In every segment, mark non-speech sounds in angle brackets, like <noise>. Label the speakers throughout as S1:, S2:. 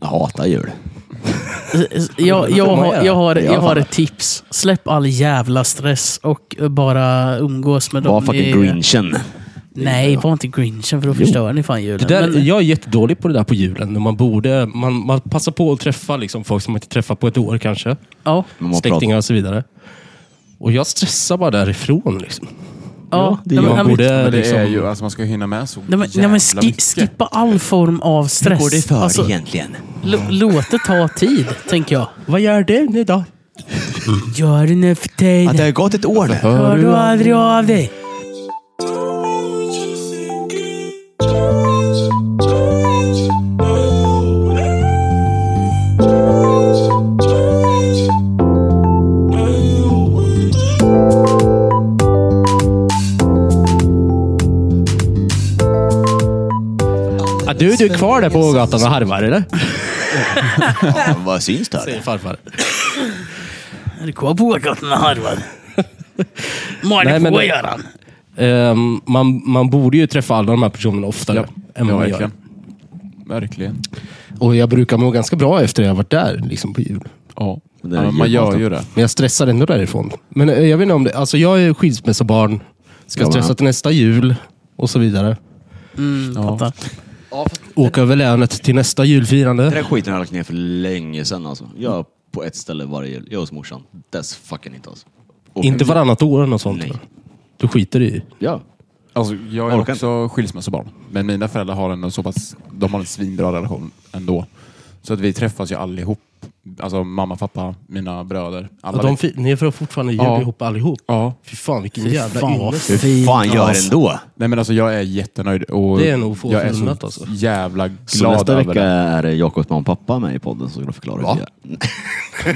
S1: Jag hatar jul.
S2: Jag, jag, har, jag, har,
S1: Ja,
S2: jag har
S1: fan.
S2: ett tips. Släpp all jävla stress och bara umgås med dem
S1: Var fucking
S2: ni-
S1: grinchen.
S2: Nej, var inte grinchen för då
S1: Jo.
S2: förstör ni fan julen.
S3: Det där,
S2: Men-
S3: Jag är jättedålig på det där på julen. När man, borde, man, man passar på att träffa liksom folk som man inte träffar på ett år kanske.
S2: ja,
S1: Man må prata.
S3: Släktingar och så vidare. Och jag stressar bara därifrån. Liksom.
S2: ja,
S1: det
S2: nej,
S1: gör
S2: men- nej,
S3: Man
S2: men-
S3: borde
S4: Men det
S3: liksom...
S4: är ju, alltså man ska ju hinna med så
S2: nej, men- nej,
S4: jävla
S2: men ski-
S4: mycket.
S2: skippa all form av stress.
S1: Går det för
S2: Alltså,
S1: egentligen?
S2: l- låt det ta tid, tänker jag.
S3: Vad gör du nu då?
S2: Gör det nu för
S1: Att det
S2: tiden.
S1: har gått ett år nu.
S2: Hör du aldrig av dig?
S3: Ja, du, du är kvar där på Ågatan och harvar eller?
S1: Ja, vad syns
S3: Säger
S1: det?
S3: farfar.
S2: Är du kvar på
S1: <laughs>
S2: åkarna harvad? Malin
S3: Nej, men-
S2: på Göran.
S3: Ehm, man, man borde ju träffa alla de här personerna oftare
S4: Ja,
S3: än
S4: ja
S3: vad man gör.
S4: verkligen. Verkligen.
S3: Och jag brukar må ganska bra efter jag har varit där liksom på jul.
S4: Ja.
S1: det är
S4: ja, men man
S1: ju
S4: gör
S1: konstigt.
S4: ju det.
S3: Men jag stressar ändå därifrån. Men eh, jag vet inte om det... Alltså jag är skilsmässobarn. Ska
S1: Ja, men-
S3: stressa till nästa jul och så vidare.
S2: Fattar.
S3: Åka över länet till nästa
S1: Den
S3: julfirande.
S1: där skiten har jag lagt ner för länge sedan alltså. Jag är på ett ställe varje jul. Jag hos morsan. That's fucking it alltså. Och-
S3: Inte varannat år eller något sånt.
S1: Nej.
S3: Du skiter i.
S1: Ja.
S4: Alltså, jag är
S1: Orkar
S4: också skilsmässobarn. Men mina föräldrar har en så pass, de har en svinbra relation ändå. Så att vi träffas ju allihop. Alltså mamma, pappa, mina bröder. Alla
S3: Ja, de fi- ni får fortfarande jul
S4: Ja.
S3: ihop allihop.
S4: ja.
S3: Fy fan vilken
S2: Fy
S3: jävla
S2: fan, vad
S3: ynnest.
S2: fint.
S1: Hur fan gör
S2: alltså.
S1: ändå?
S4: Nej men alltså jag är jättenöjd. Och
S3: Det är nog få
S4: Jag är så
S3: förunnat, alltså.
S4: jävla glad
S1: Så nästa
S4: över
S1: vecka
S4: det.
S1: är det Jakobs mamma och pappa med i podden som ska förklara
S3: Va?
S1: hur vi gör.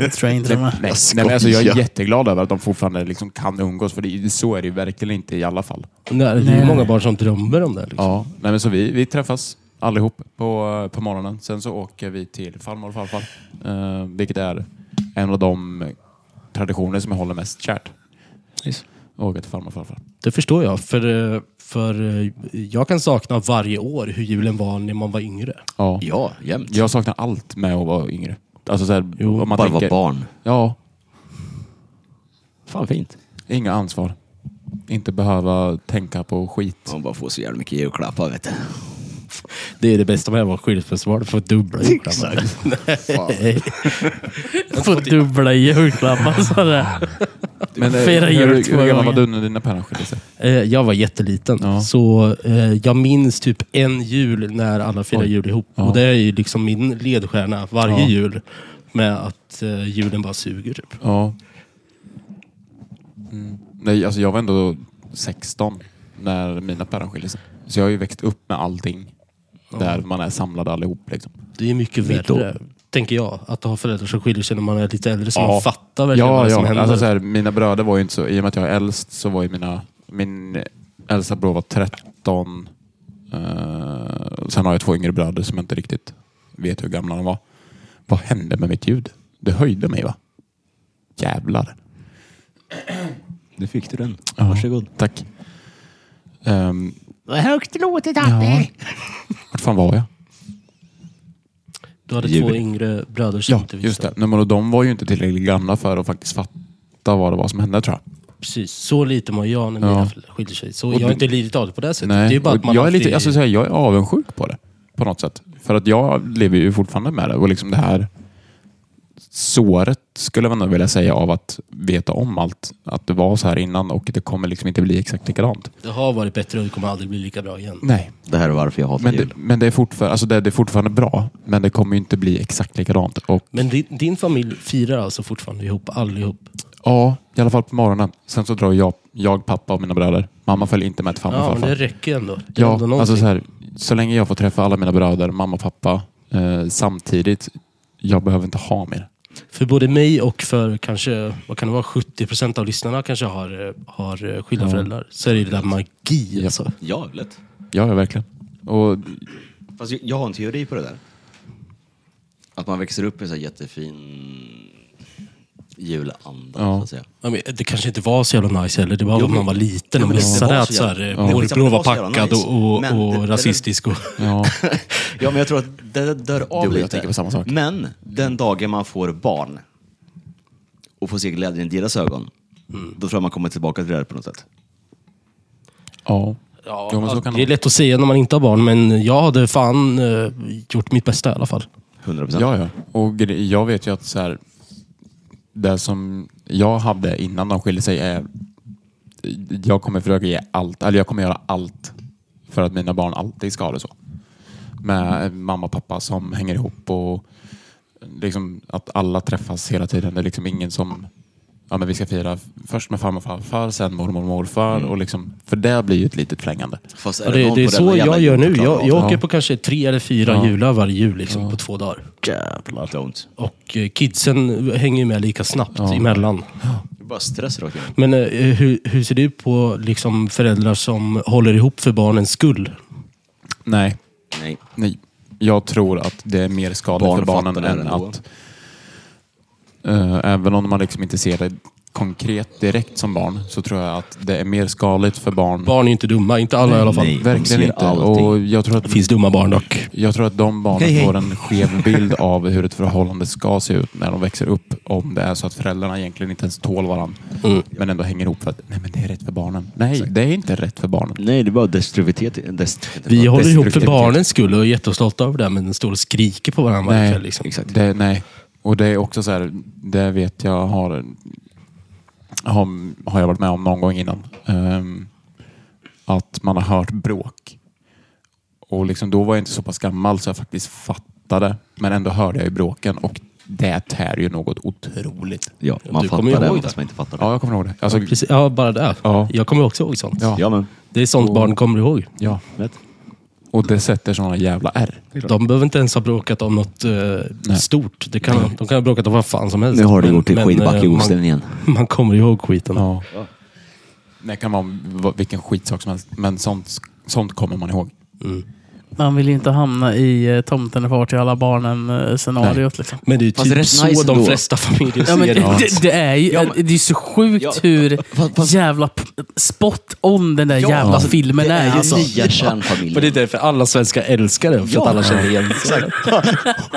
S2: Det tror jag
S1: <laughs>
S2: inte de är.
S4: Nej,
S1: Jag
S4: nej, men alltså jag är
S1: skojar.
S4: jätteglad över att de fortfarande liksom kan umgås. För det, så är det ju verkligen inte i alla fall.
S3: Nej, det är ju många barn som drömmer om det. Liksom.
S4: Ja, nej men så vi, vi träffas allihop på, på morgonen. Sen så åker vi till farmor och farfar. Eh, vilket är en av de traditioner som jag håller mest kärt.
S3: Nice.
S4: Åka till farmor och farfar.
S3: Det förstår jag. För, eh, för eh, jag kan sakna varje år hur julen var när man var yngre.
S4: Ja.
S1: Ja, jämt.
S4: Jag saknar allt med att vara yngre. Alltså så här,
S3: Jo,
S4: om man
S1: Bara vara
S4: tänker,
S1: barn.
S4: Ja,
S1: Fan fint.
S4: inga ansvar. Inte behöva tänka på skit.
S1: Man bara får så jävla mycket julklappar vet du.
S3: Det är det bästa med att vara skilsmässobarn, för dubbla julklappar. <laughs>
S2: Får dubbla julklappar sådär.
S4: Men, eh,
S2: Fira jul
S4: hur,
S2: två
S4: hur gammal var
S2: gånger.
S4: du när dina föräldrar skilde sig?
S3: Eh, Jag var jätteliten,
S4: Ja.
S3: så eh, jag minns typ en jul när alla firar
S4: Oj.
S3: jul ihop.
S4: Ja.
S3: Och det är ju liksom min ledstjärna varje
S4: Ja.
S3: jul. Med att eh, julen bara suger typ.
S4: Ja. Mm. Nej, alltså jag var ändå 16 när mina päron skilde sig. Så jag har ju växt upp med allting. Där man är samlade allihop. Liksom.
S3: Det är mycket
S1: Mitt år.
S3: värre, tänker jag, att ha föräldrar som skiljer sig när man är lite äldre. Så
S4: Ja.
S3: man fattar verkligen vad det är som händer.
S4: Alltså, så här, mina bröder var ju inte så... I och med att jag är äldst så var ju mina... Min äldsta bror var 13. Eh, sen har jag två yngre bröder som jag inte riktigt vet hur gamla de var. Vad hände med mitt ljud? Det höjde mig va? Jävlar.
S1: Nu fick du den.
S4: Ja.
S1: Varsågod.
S4: Tack. Ehm,
S5: Vad högt det låter, Danne.
S4: vart fan
S3: Typ
S4: var jag?
S3: du hade två
S1: Jul.
S3: yngre bröder som
S4: Ja,
S3: inte visste.
S4: just det. Nej, men och de var ju inte tillräckligt gamla för att faktiskt fatta vad det var som hände tror jag.
S3: Precis, så lite mår jag när
S4: Ja.
S3: mina föräldrar skiljer sig. Så jag
S4: du-
S3: har inte lidit av det på det sättet.
S4: Nej.
S3: Det är bara att
S4: och
S3: man
S4: jag, är
S3: alltid...
S4: lite, alltså, så här, jag är avundsjuk på det på något sätt. För att jag lever ju fortfarande med det. Och liksom det här såret skulle man nog vilja säga av att veta om allt. Att det var så här innan och det kommer liksom inte bli exakt likadant.
S3: Det har varit bättre och det kommer aldrig bli lika bra igen.
S4: Nej,
S1: Det här är varför jag hatar
S4: men,
S1: jul.
S4: det, men det, är fortfarande, alltså det, det är fortfarande bra. Men det kommer ju inte bli exakt likadant. Och
S3: Men din, din familj firar alltså fortfarande ihop, allihop?
S4: Ja, i alla fall på morgonen. Sen så drar jag, jag pappa och mina bröder. Mamma följer inte med till farmor och
S3: Ja, men
S4: farfar.
S3: det räcker ju ändå. Det är
S4: Ja,
S3: ändå någonting.
S4: alltså så, här, så länge jag får träffa alla mina bröder, mamma och pappa eh, samtidigt. Jag behöver inte ha mer.
S3: För både mig och för kanske, vad kan det vara, 70% av lyssnarna kanske har, eh, har eh, skilda
S4: Ja.
S3: föräldrar. Så är det ju det där magi alltså.
S1: Ja, lätt.
S4: Ja, ja verkligen. Och,
S1: Fast jag, jag har en teori på det där. Att man växer upp i en så här jättefin julandan
S4: Ja.
S1: så att säga.
S3: Ja, men det kanske inte var så jävla nice heller. Det var
S1: Jo,
S3: när man
S1: men-
S3: var liten
S1: Jo,
S3: och
S1: men det var
S3: missade att
S1: så
S3: så
S1: jävla-
S3: här,
S1: Ja.
S3: morbror
S1: Liksom, det
S3: var
S1: var så jävla
S3: packad
S1: nice.
S3: och, och,
S1: Men det-
S3: och
S1: det- <laughs>
S3: rasistisk. Och,
S4: Ja.
S1: Ja, men jag tror att det dör av
S4: Du och jag
S1: lite.
S4: tänker på samma sak.
S1: Men den dagen man får barn och får se glädjen i deras ögon, då tror jag man kommer tillbaka till det här på något sätt.
S4: ja.
S3: ja, alltså,
S4: Jo, men så kan
S3: det är
S4: det
S3: lätt att säga när man inte har barn, men jag hade fan eh, gjort mitt bästa i alla fall.
S1: 100 procent.
S4: Ja, ja. Och gre- jag vet ju att så här, det som jag hade innan de skilde sig är jag kommer försöka ge allt, eller jag kommer göra allt för att mina barn alltid ska ha det så. Med mamma och pappa som hänger ihop och liksom att alla träffas hela tiden. Det är liksom ingen som, ja men vi ska fira först med farmor och farfar, sen mormor och morfar och liksom, för det blir ju ett litet flängande.
S1: Fast
S3: Ja,
S1: är det,
S3: det,
S1: någon
S3: det är
S1: på denna
S3: så
S1: jävla
S3: jag gör nu.
S1: jorden klarar
S3: Jag,
S1: av
S3: jag
S4: Ja.
S3: åker på kanske tre eller fyra jular varje jul liksom, på två dagar.
S1: det? Don't.
S3: Och eh, kidsen hänger ju med lika snabbt emellan.
S1: Det är bara stress rakt igenom.
S3: Men eh, hur, hur ser du på liksom, föräldrar som håller ihop för barnens skull?
S4: Nej,
S1: Nej.
S4: Nej. Jag tror att det är mer skadligt
S1: Barn
S4: för barnen
S1: fattar det
S4: än
S1: ändå.
S4: att... Eh, även om man liksom inte ser det konkret direkt som barn så tror jag att det är mer skadligt för barn.
S3: Barn är ju inte dumma, inte alla i alla fall.
S1: nej. de ser
S4: Verkligen inte.
S1: allting.
S4: Och jag tror att
S3: Det finns dumma barn dock.
S4: jag tror att de barnen
S3: Hej, hej.
S4: får en skev bild av hur ett förhållande ska se ut när de växer upp. Om det är så att föräldrarna egentligen inte ens tål varandra.
S3: Mm.
S4: Men ändå hänger ihop för att nej men det är rätt för barnen. Nej, det är inte rätt för barnen.
S1: Nej, det är bara destruktivitet. Dest
S3: Vi håller ihop för
S4: destruktivitet.
S3: barnens skull och är jättestolta över det, men står och skriker på varandra varje kväll. Liksom.
S1: exakt.
S4: Det, nej, och det är också så här, det vet jag har, har, har jag varit med om någon gång innan. Ehm, att man har hört bråk. Och liksom, då var jag inte så pass gammal så jag faktiskt fattade. Men ändå hörde jag ju bråken och det tär ju något otroligt.
S1: Ja, man
S3: Du kommer
S1: fattar
S3: ihåg
S1: det,
S3: det.
S1: fast man inte fattar det.
S4: Ja, jag kommer ihåg det. Alltså,
S3: Precis, ja, bara det.
S4: Ja.
S3: Jag kommer också ihåg sånt.
S4: Ja.
S1: Ja, men.
S3: Det är sånt barn kommer ihåg.
S4: ja. Och det sätter sådana jävla ärr.
S3: De behöver inte ens ha bråkat om något eh, stort. Det kan, de kan ha bråkat om vad fan som helst.
S1: Nu har det
S3: Men-
S1: gått till
S3: men, eh,
S1: skidback i osten igen.
S3: Man, <laughs> man kommer ihåg skiten.
S4: Ja. Det kan vara vad- vilken skitsak som helst, men sånt, sånt kommer man ihåg.
S2: Man vill ju inte hamna i eh, tomten är far till alla barnen-scenariot. Liksom.
S3: Men det är ju
S1: Fast
S3: typ
S1: det är rätt
S3: så
S1: nice
S3: de
S1: ändå.
S3: flesta familjer
S2: Ja, men
S3: ser det.
S2: det, det är ju eh,
S1: Ja, men-
S2: det är ju så sjukt
S1: Ja,
S2: hur
S1: fast- fast-
S2: jävla p- spot on den där jävla
S1: alltså,
S2: filmen
S1: det är
S2: är.
S1: ju
S2: Alltså.
S1: nya
S3: För det är
S1: kärnfamiljen.
S3: därför alla svenskar älskar den. För
S1: Ja.
S3: att alla känner igen sig.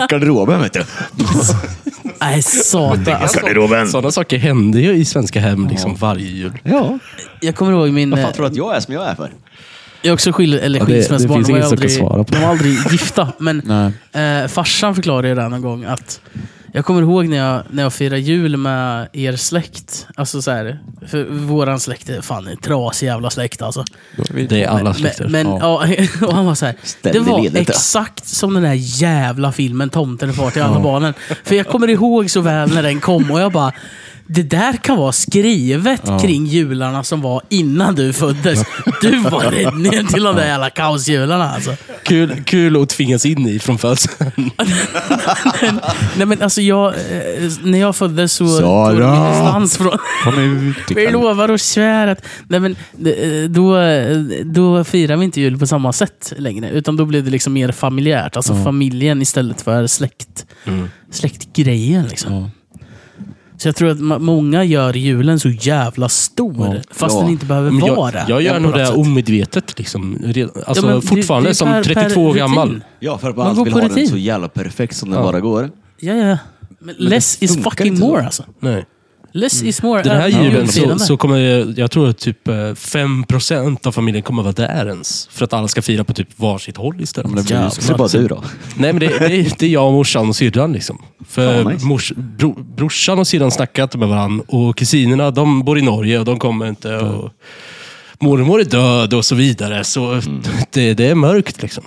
S1: Garderoben, vet du.
S2: Nej, satan. Alltså,
S3: Sådana saker händer ju i svenska hem liksom varje jul.
S1: Ja.
S2: jag kommer ihåg min...
S1: Vad
S2: eh,
S1: fan tror du att jag är som jag är för?
S2: Jag är också skil, eller
S3: Ja, det- det
S2: skilsmässobarn.
S3: finns
S2: De var
S3: ingen
S2: ju
S3: som kan
S2: aldrig-
S3: svara på
S2: de var aldrig gifta. Men
S4: Nej.
S2: eh, farsan förklarade ju det här någon gång att jag kommer ihåg när jag, när jag firade jul med er släkt. Alltså så här, för våran släkt är fan en trasig jävla släkt alltså.
S4: Då är vi-
S3: Det är alla
S2: Men,
S3: släkter.
S2: men ja. <laughs> och han var så här,
S1: Ställ
S2: det
S1: i
S2: var
S1: ledet, ja."
S2: exakt som den här jävla filmen Tomten är far till alla barnen. För jag kommer ihåg så väl när den kom och jag bara, det där kan vara skrivet kring jularna som var innan du föddes. Du var räddningen till de där jävla kaosjularna alltså.
S3: Kul, kul att tvingas in i från födseln.
S2: Nej men alltså jag, eh, när jag föddes så
S1: Sara!
S2: tog de min distans från...
S4: Kom ut
S2: <laughs> Vi
S4: ikväll.
S2: lovar och svär att... Nej men, eh, då, då firar vi inte jul på samma sätt längre. Utan då blev det liksom mer familjärt. Alltså familjen istället för släkt,
S3: Mm.
S2: släktgrejen. Liksom.
S4: Ja.
S2: Så jag tror att ma- många gör julen så jävla stor. Fast
S1: Ja.
S2: den inte behöver
S3: Men
S2: vara
S3: jag, jag gör
S2: på
S3: nog
S2: något
S3: det
S2: sätt.
S3: omedvetet. Liksom. Redan- Alltså,
S2: men det-
S3: fortfarande
S2: det är per-
S3: som
S2: per
S3: 32 år gammal.
S2: rutin.
S1: Ja, för att
S2: Man
S1: man
S2: går
S1: alltid vill
S2: på
S1: ha
S2: rutin.
S1: den så jävla perfekt som det bara går.
S2: Ja, ja. Men less is
S1: funkar
S2: fucking
S1: inte så.
S2: more alltså.
S3: Nej.
S2: Less is more.
S3: Mm. Den här
S2: är
S3: julen så,
S2: julfirande.
S3: så kommer, jag- jag tror att typ eh, 5% av familjen kommer vara där ens. För att alla ska fira på typ varsitt håll istället.
S4: Men det blir ju så.
S1: Så det är bara du då.
S3: Nej men det, det, är- det är jag och morsan och syrran liksom. För
S1: Fan, vad nice.
S3: mors, bro, brorsan och syrran snackar inte med varandra. Och kusinerna, de bor i Norge och de kommer inte. Och, mormor är död och så vidare. Så
S1: Mm.
S3: <laughs> det, det är mörkt liksom.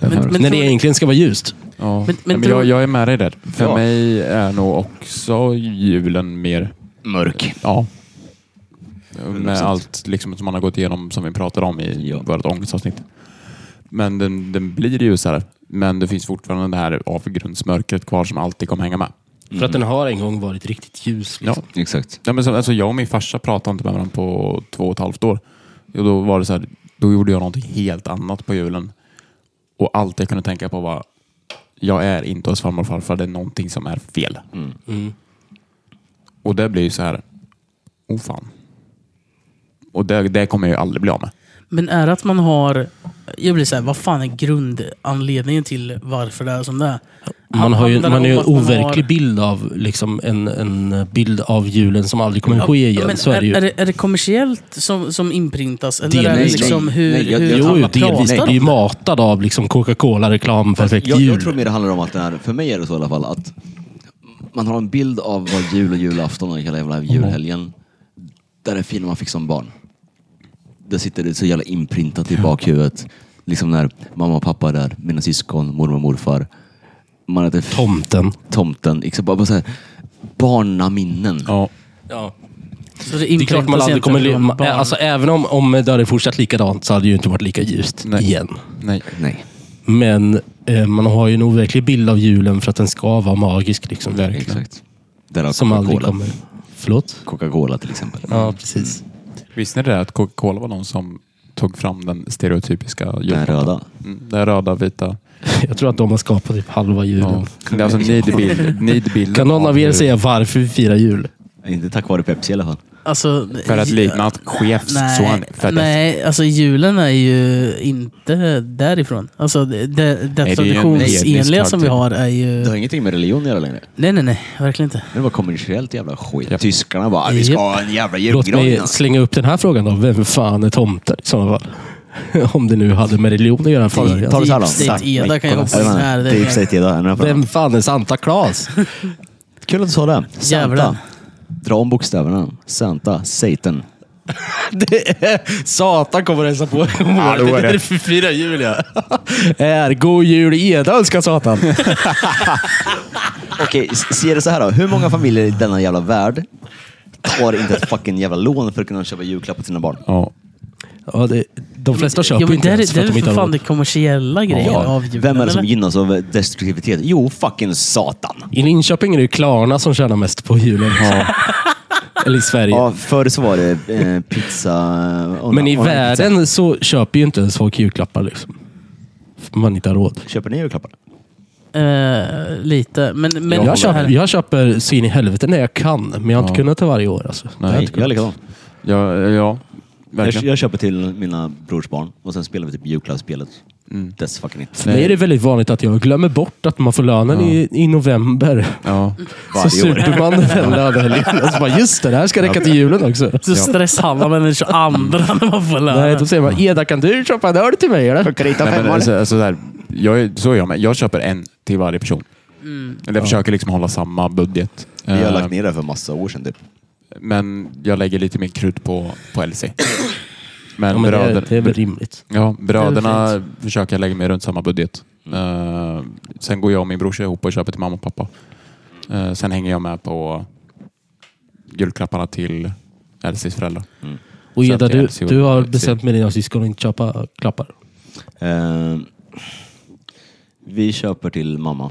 S2: Men, men,
S3: När det
S2: tror-
S3: egentligen ska vara ljust.
S4: Ja.
S2: Men-
S4: Men,
S2: men tror-
S4: jag, jag är med dig där. För
S1: Ja.
S4: mig är nog också julen mer,
S1: Mörk.
S4: ja. Med allt liksom som man har gått igenom som vi pratade om i
S1: Ja.
S4: vårt ångestavsnitt. Men den, den blir ljusare. Men det finns fortfarande det här avgrundsmörkret kvar som alltid kommer hänga med.
S1: Mm.
S3: För att den har en gång varit riktigt ljus. Liksom.
S4: Ja.
S1: Exakt.
S4: Ja, men så, alltså, jag och min farsa pratade inte med varandra på två och ett halvt år. Och då var det så här, då gjorde jag någonting helt annat på julen. Och allt jag kunde Mm. tänka på var, jag är inte hos farmor och farfar, det är någonting som är fel. Och det blir ju så här, oh fan. Och det, det kommer jag ju aldrig bli av med.
S2: Men är det att man har... Jag blir så här, vad fan är grundanledningen till varför det är som det är?
S3: Man har ju
S2: Handlar
S3: man
S2: det
S3: har ju
S2: om
S3: en
S2: att man har-
S3: overklig bild av liksom en, en bild av julen som aldrig kommer ske E igen.
S2: Men
S3: Så är det ju.
S2: är, det, är det kommersiellt som, som inprintas? Eller är det
S3: Delvis.
S2: liksom
S1: Nej,
S2: hur,
S1: nej, jag-
S2: hur
S1: jag-
S3: Jo,
S2: alla
S3: jo, delvis.
S2: pratar
S3: Det
S2: om
S3: är ju matad av liksom Coca-Cola-reklam, perfekt
S1: Jag,
S3: jul.
S1: jag tror mer det handlar om att det är, för mig är det så i alla fall, att man har en bild av vad jul och julafton och hela jävla julhelgen, där är fin man fick som barn. Där sitter det så jävla inprintat i bakhuvudet. Liksom när mamma och pappa är där, mina syskon, mormor och morfar. Man äter f-
S3: Tomten.
S1: tomten. Liksom bara, bara så här, barnaminnen.
S4: Ja.
S3: Ja.
S2: Så det,
S3: Det är klart man aldrig kommer... le- Man,
S2: barn.
S3: alltså, även om, om det hade fortsatt likadant så hade det ju inte varit lika ljust
S4: Nej.
S3: igen.
S4: Nej.
S1: Nej.
S3: Men eh, man har ju en overklig bild av julen för att den ska vara magisk. Liksom.
S1: Exakt. Därav
S3: Som aldrig
S1: Coca-Cola.
S3: kommer... Förlåt?
S1: Coca-Cola till exempel.
S3: Ja, precis.
S4: Visste ni det att Coca-Cola var någon som tog fram den stereotypiska
S1: Den
S4: jultomten?
S1: röda.
S4: Mm, Den röda, vita.
S3: <laughs> Jag tror att de har skapat typ halva julen.
S4: Ja. Det är alltså nidbild, nidbilden.
S3: Kan någon
S4: av
S3: av er
S4: hur-
S3: säga varför vi firar jul?
S1: Inte tack vare Pepsi i alla fall.
S2: Alltså,
S4: För att
S2: ja,
S4: likna att chefsson
S2: Nej, nej, alltså julen är ju inte därifrån. Alltså det, det, det
S4: det är ju en
S2: traditionsenliga
S4: etnisk
S2: som vi har är ju...
S1: Det har ingenting med religion att göra längre.
S2: Nej, nej, nej. Verkligen inte.
S1: Det var kommersiellt jävla skit.
S4: Japp.
S1: Tyskarna bara, "Ah, vi ska ha en jävla
S3: Låt mig
S1: julgran.
S3: slänga upp den här frågan då. Vem fan är tomten i sådana fall? <laughs> Om det nu hade med religion att göra från
S1: Ta
S3: början.
S1: det så här långt.
S2: Deep State
S1: Tack,
S2: Eda kan jag
S1: Nicolas.
S2: hoppa in här. Det är-
S1: Deep State Eda. är den här framme?
S3: Vem fan är Santa Claus?
S1: Kul att du sa det. Santa.
S2: Djävulen.
S1: Dra om bokstäverna. Santa. Satan.
S3: <laughs> Det är, Satan kommer hälsa på i morgon.
S4: då är
S3: <laughs>
S4: det.
S3: Det är för fyra jul ja. <laughs> Är god jul Eda önskar Satan.
S1: Okej, s- se det så här då. Hur många familjer i denna jävla värld tar inte ett fucking jävla lån för att kunna köpa julklappar till sina barn?
S4: Ja.
S3: Ja, det, de flesta köper
S2: Jo, men
S3: inte
S2: där,
S3: ens
S2: är-
S3: för
S2: där
S3: att
S2: är
S3: de inte
S2: för
S3: har
S2: fan
S3: råd.
S2: det kommersiella grejen av julen.
S1: Vem är det som
S2: eller?
S1: gynnas av destruktivitet? Jo, fucking Satan.
S3: I Linköping är det ju Klarna som tjänar mest på julen. <laughs> Eller i Sverige.
S1: Ja, förr så var det eh, pizza... och-
S3: Men i
S1: och-
S3: världen så köper ju inte ens folk julklappar. Liksom. För Man inte har råd.
S1: Köper ni julklappar?
S2: Eh, lite. Men, men
S3: jag,
S2: så här-
S3: köper, jag köper så in i helvete när jag kan, men jag har inte kunnat det varje år. Alltså. Jag har
S1: Nej,
S3: inte
S1: jag är likadan.
S3: kunnat.
S4: Ja, ja,
S1: Jag,
S4: verkligen.
S1: jag köper till mina brors barn och sen spelar vi typ julklappsspelet. That's fucking it.
S3: För mig är det väldigt vanligt att jag glömmer bort att man får lönen i, i november.
S4: Ja.
S1: Varje
S3: så super man den lönehelgen. Och så Alltså bara, just det, det här ska räcka till julen också.
S2: Så stresshandlar man den 22 när man får
S3: Mm. Nej,
S2: lönen.
S3: då säger man, Eda kan du köpa en öl till mig eller?
S4: Nej, men alltså, alltså, så, här, jag, är- så är jag med. Jag köper en till varje person.
S2: Mm.
S4: Eller jag försöker liksom hålla samma budget.
S1: Vi har
S4: Eh,
S1: lagt ner det för massa år sedan typ.
S4: Men jag lägger lite mer krut på, på Elsie. Men,
S3: Ja, men det,
S4: bröder,
S3: är- det är väl rimligt.
S4: ja,
S2: Det är Mm.
S4: bröderna försöker jag lägga mig runt samma budget. Eh, sen går jag och min brorsa ihop och köper till mamma och pappa. Eh, sen hänger jag med på julklapparna till Elsies föräldrar.
S2: Mm.
S3: Och
S4: Så
S3: Eda,
S4: att det är
S3: du,
S4: så-
S3: du har
S4: så-
S3: bestämt med dina syskon att inte köpa klappar.
S1: Eh, vi köper till mamma.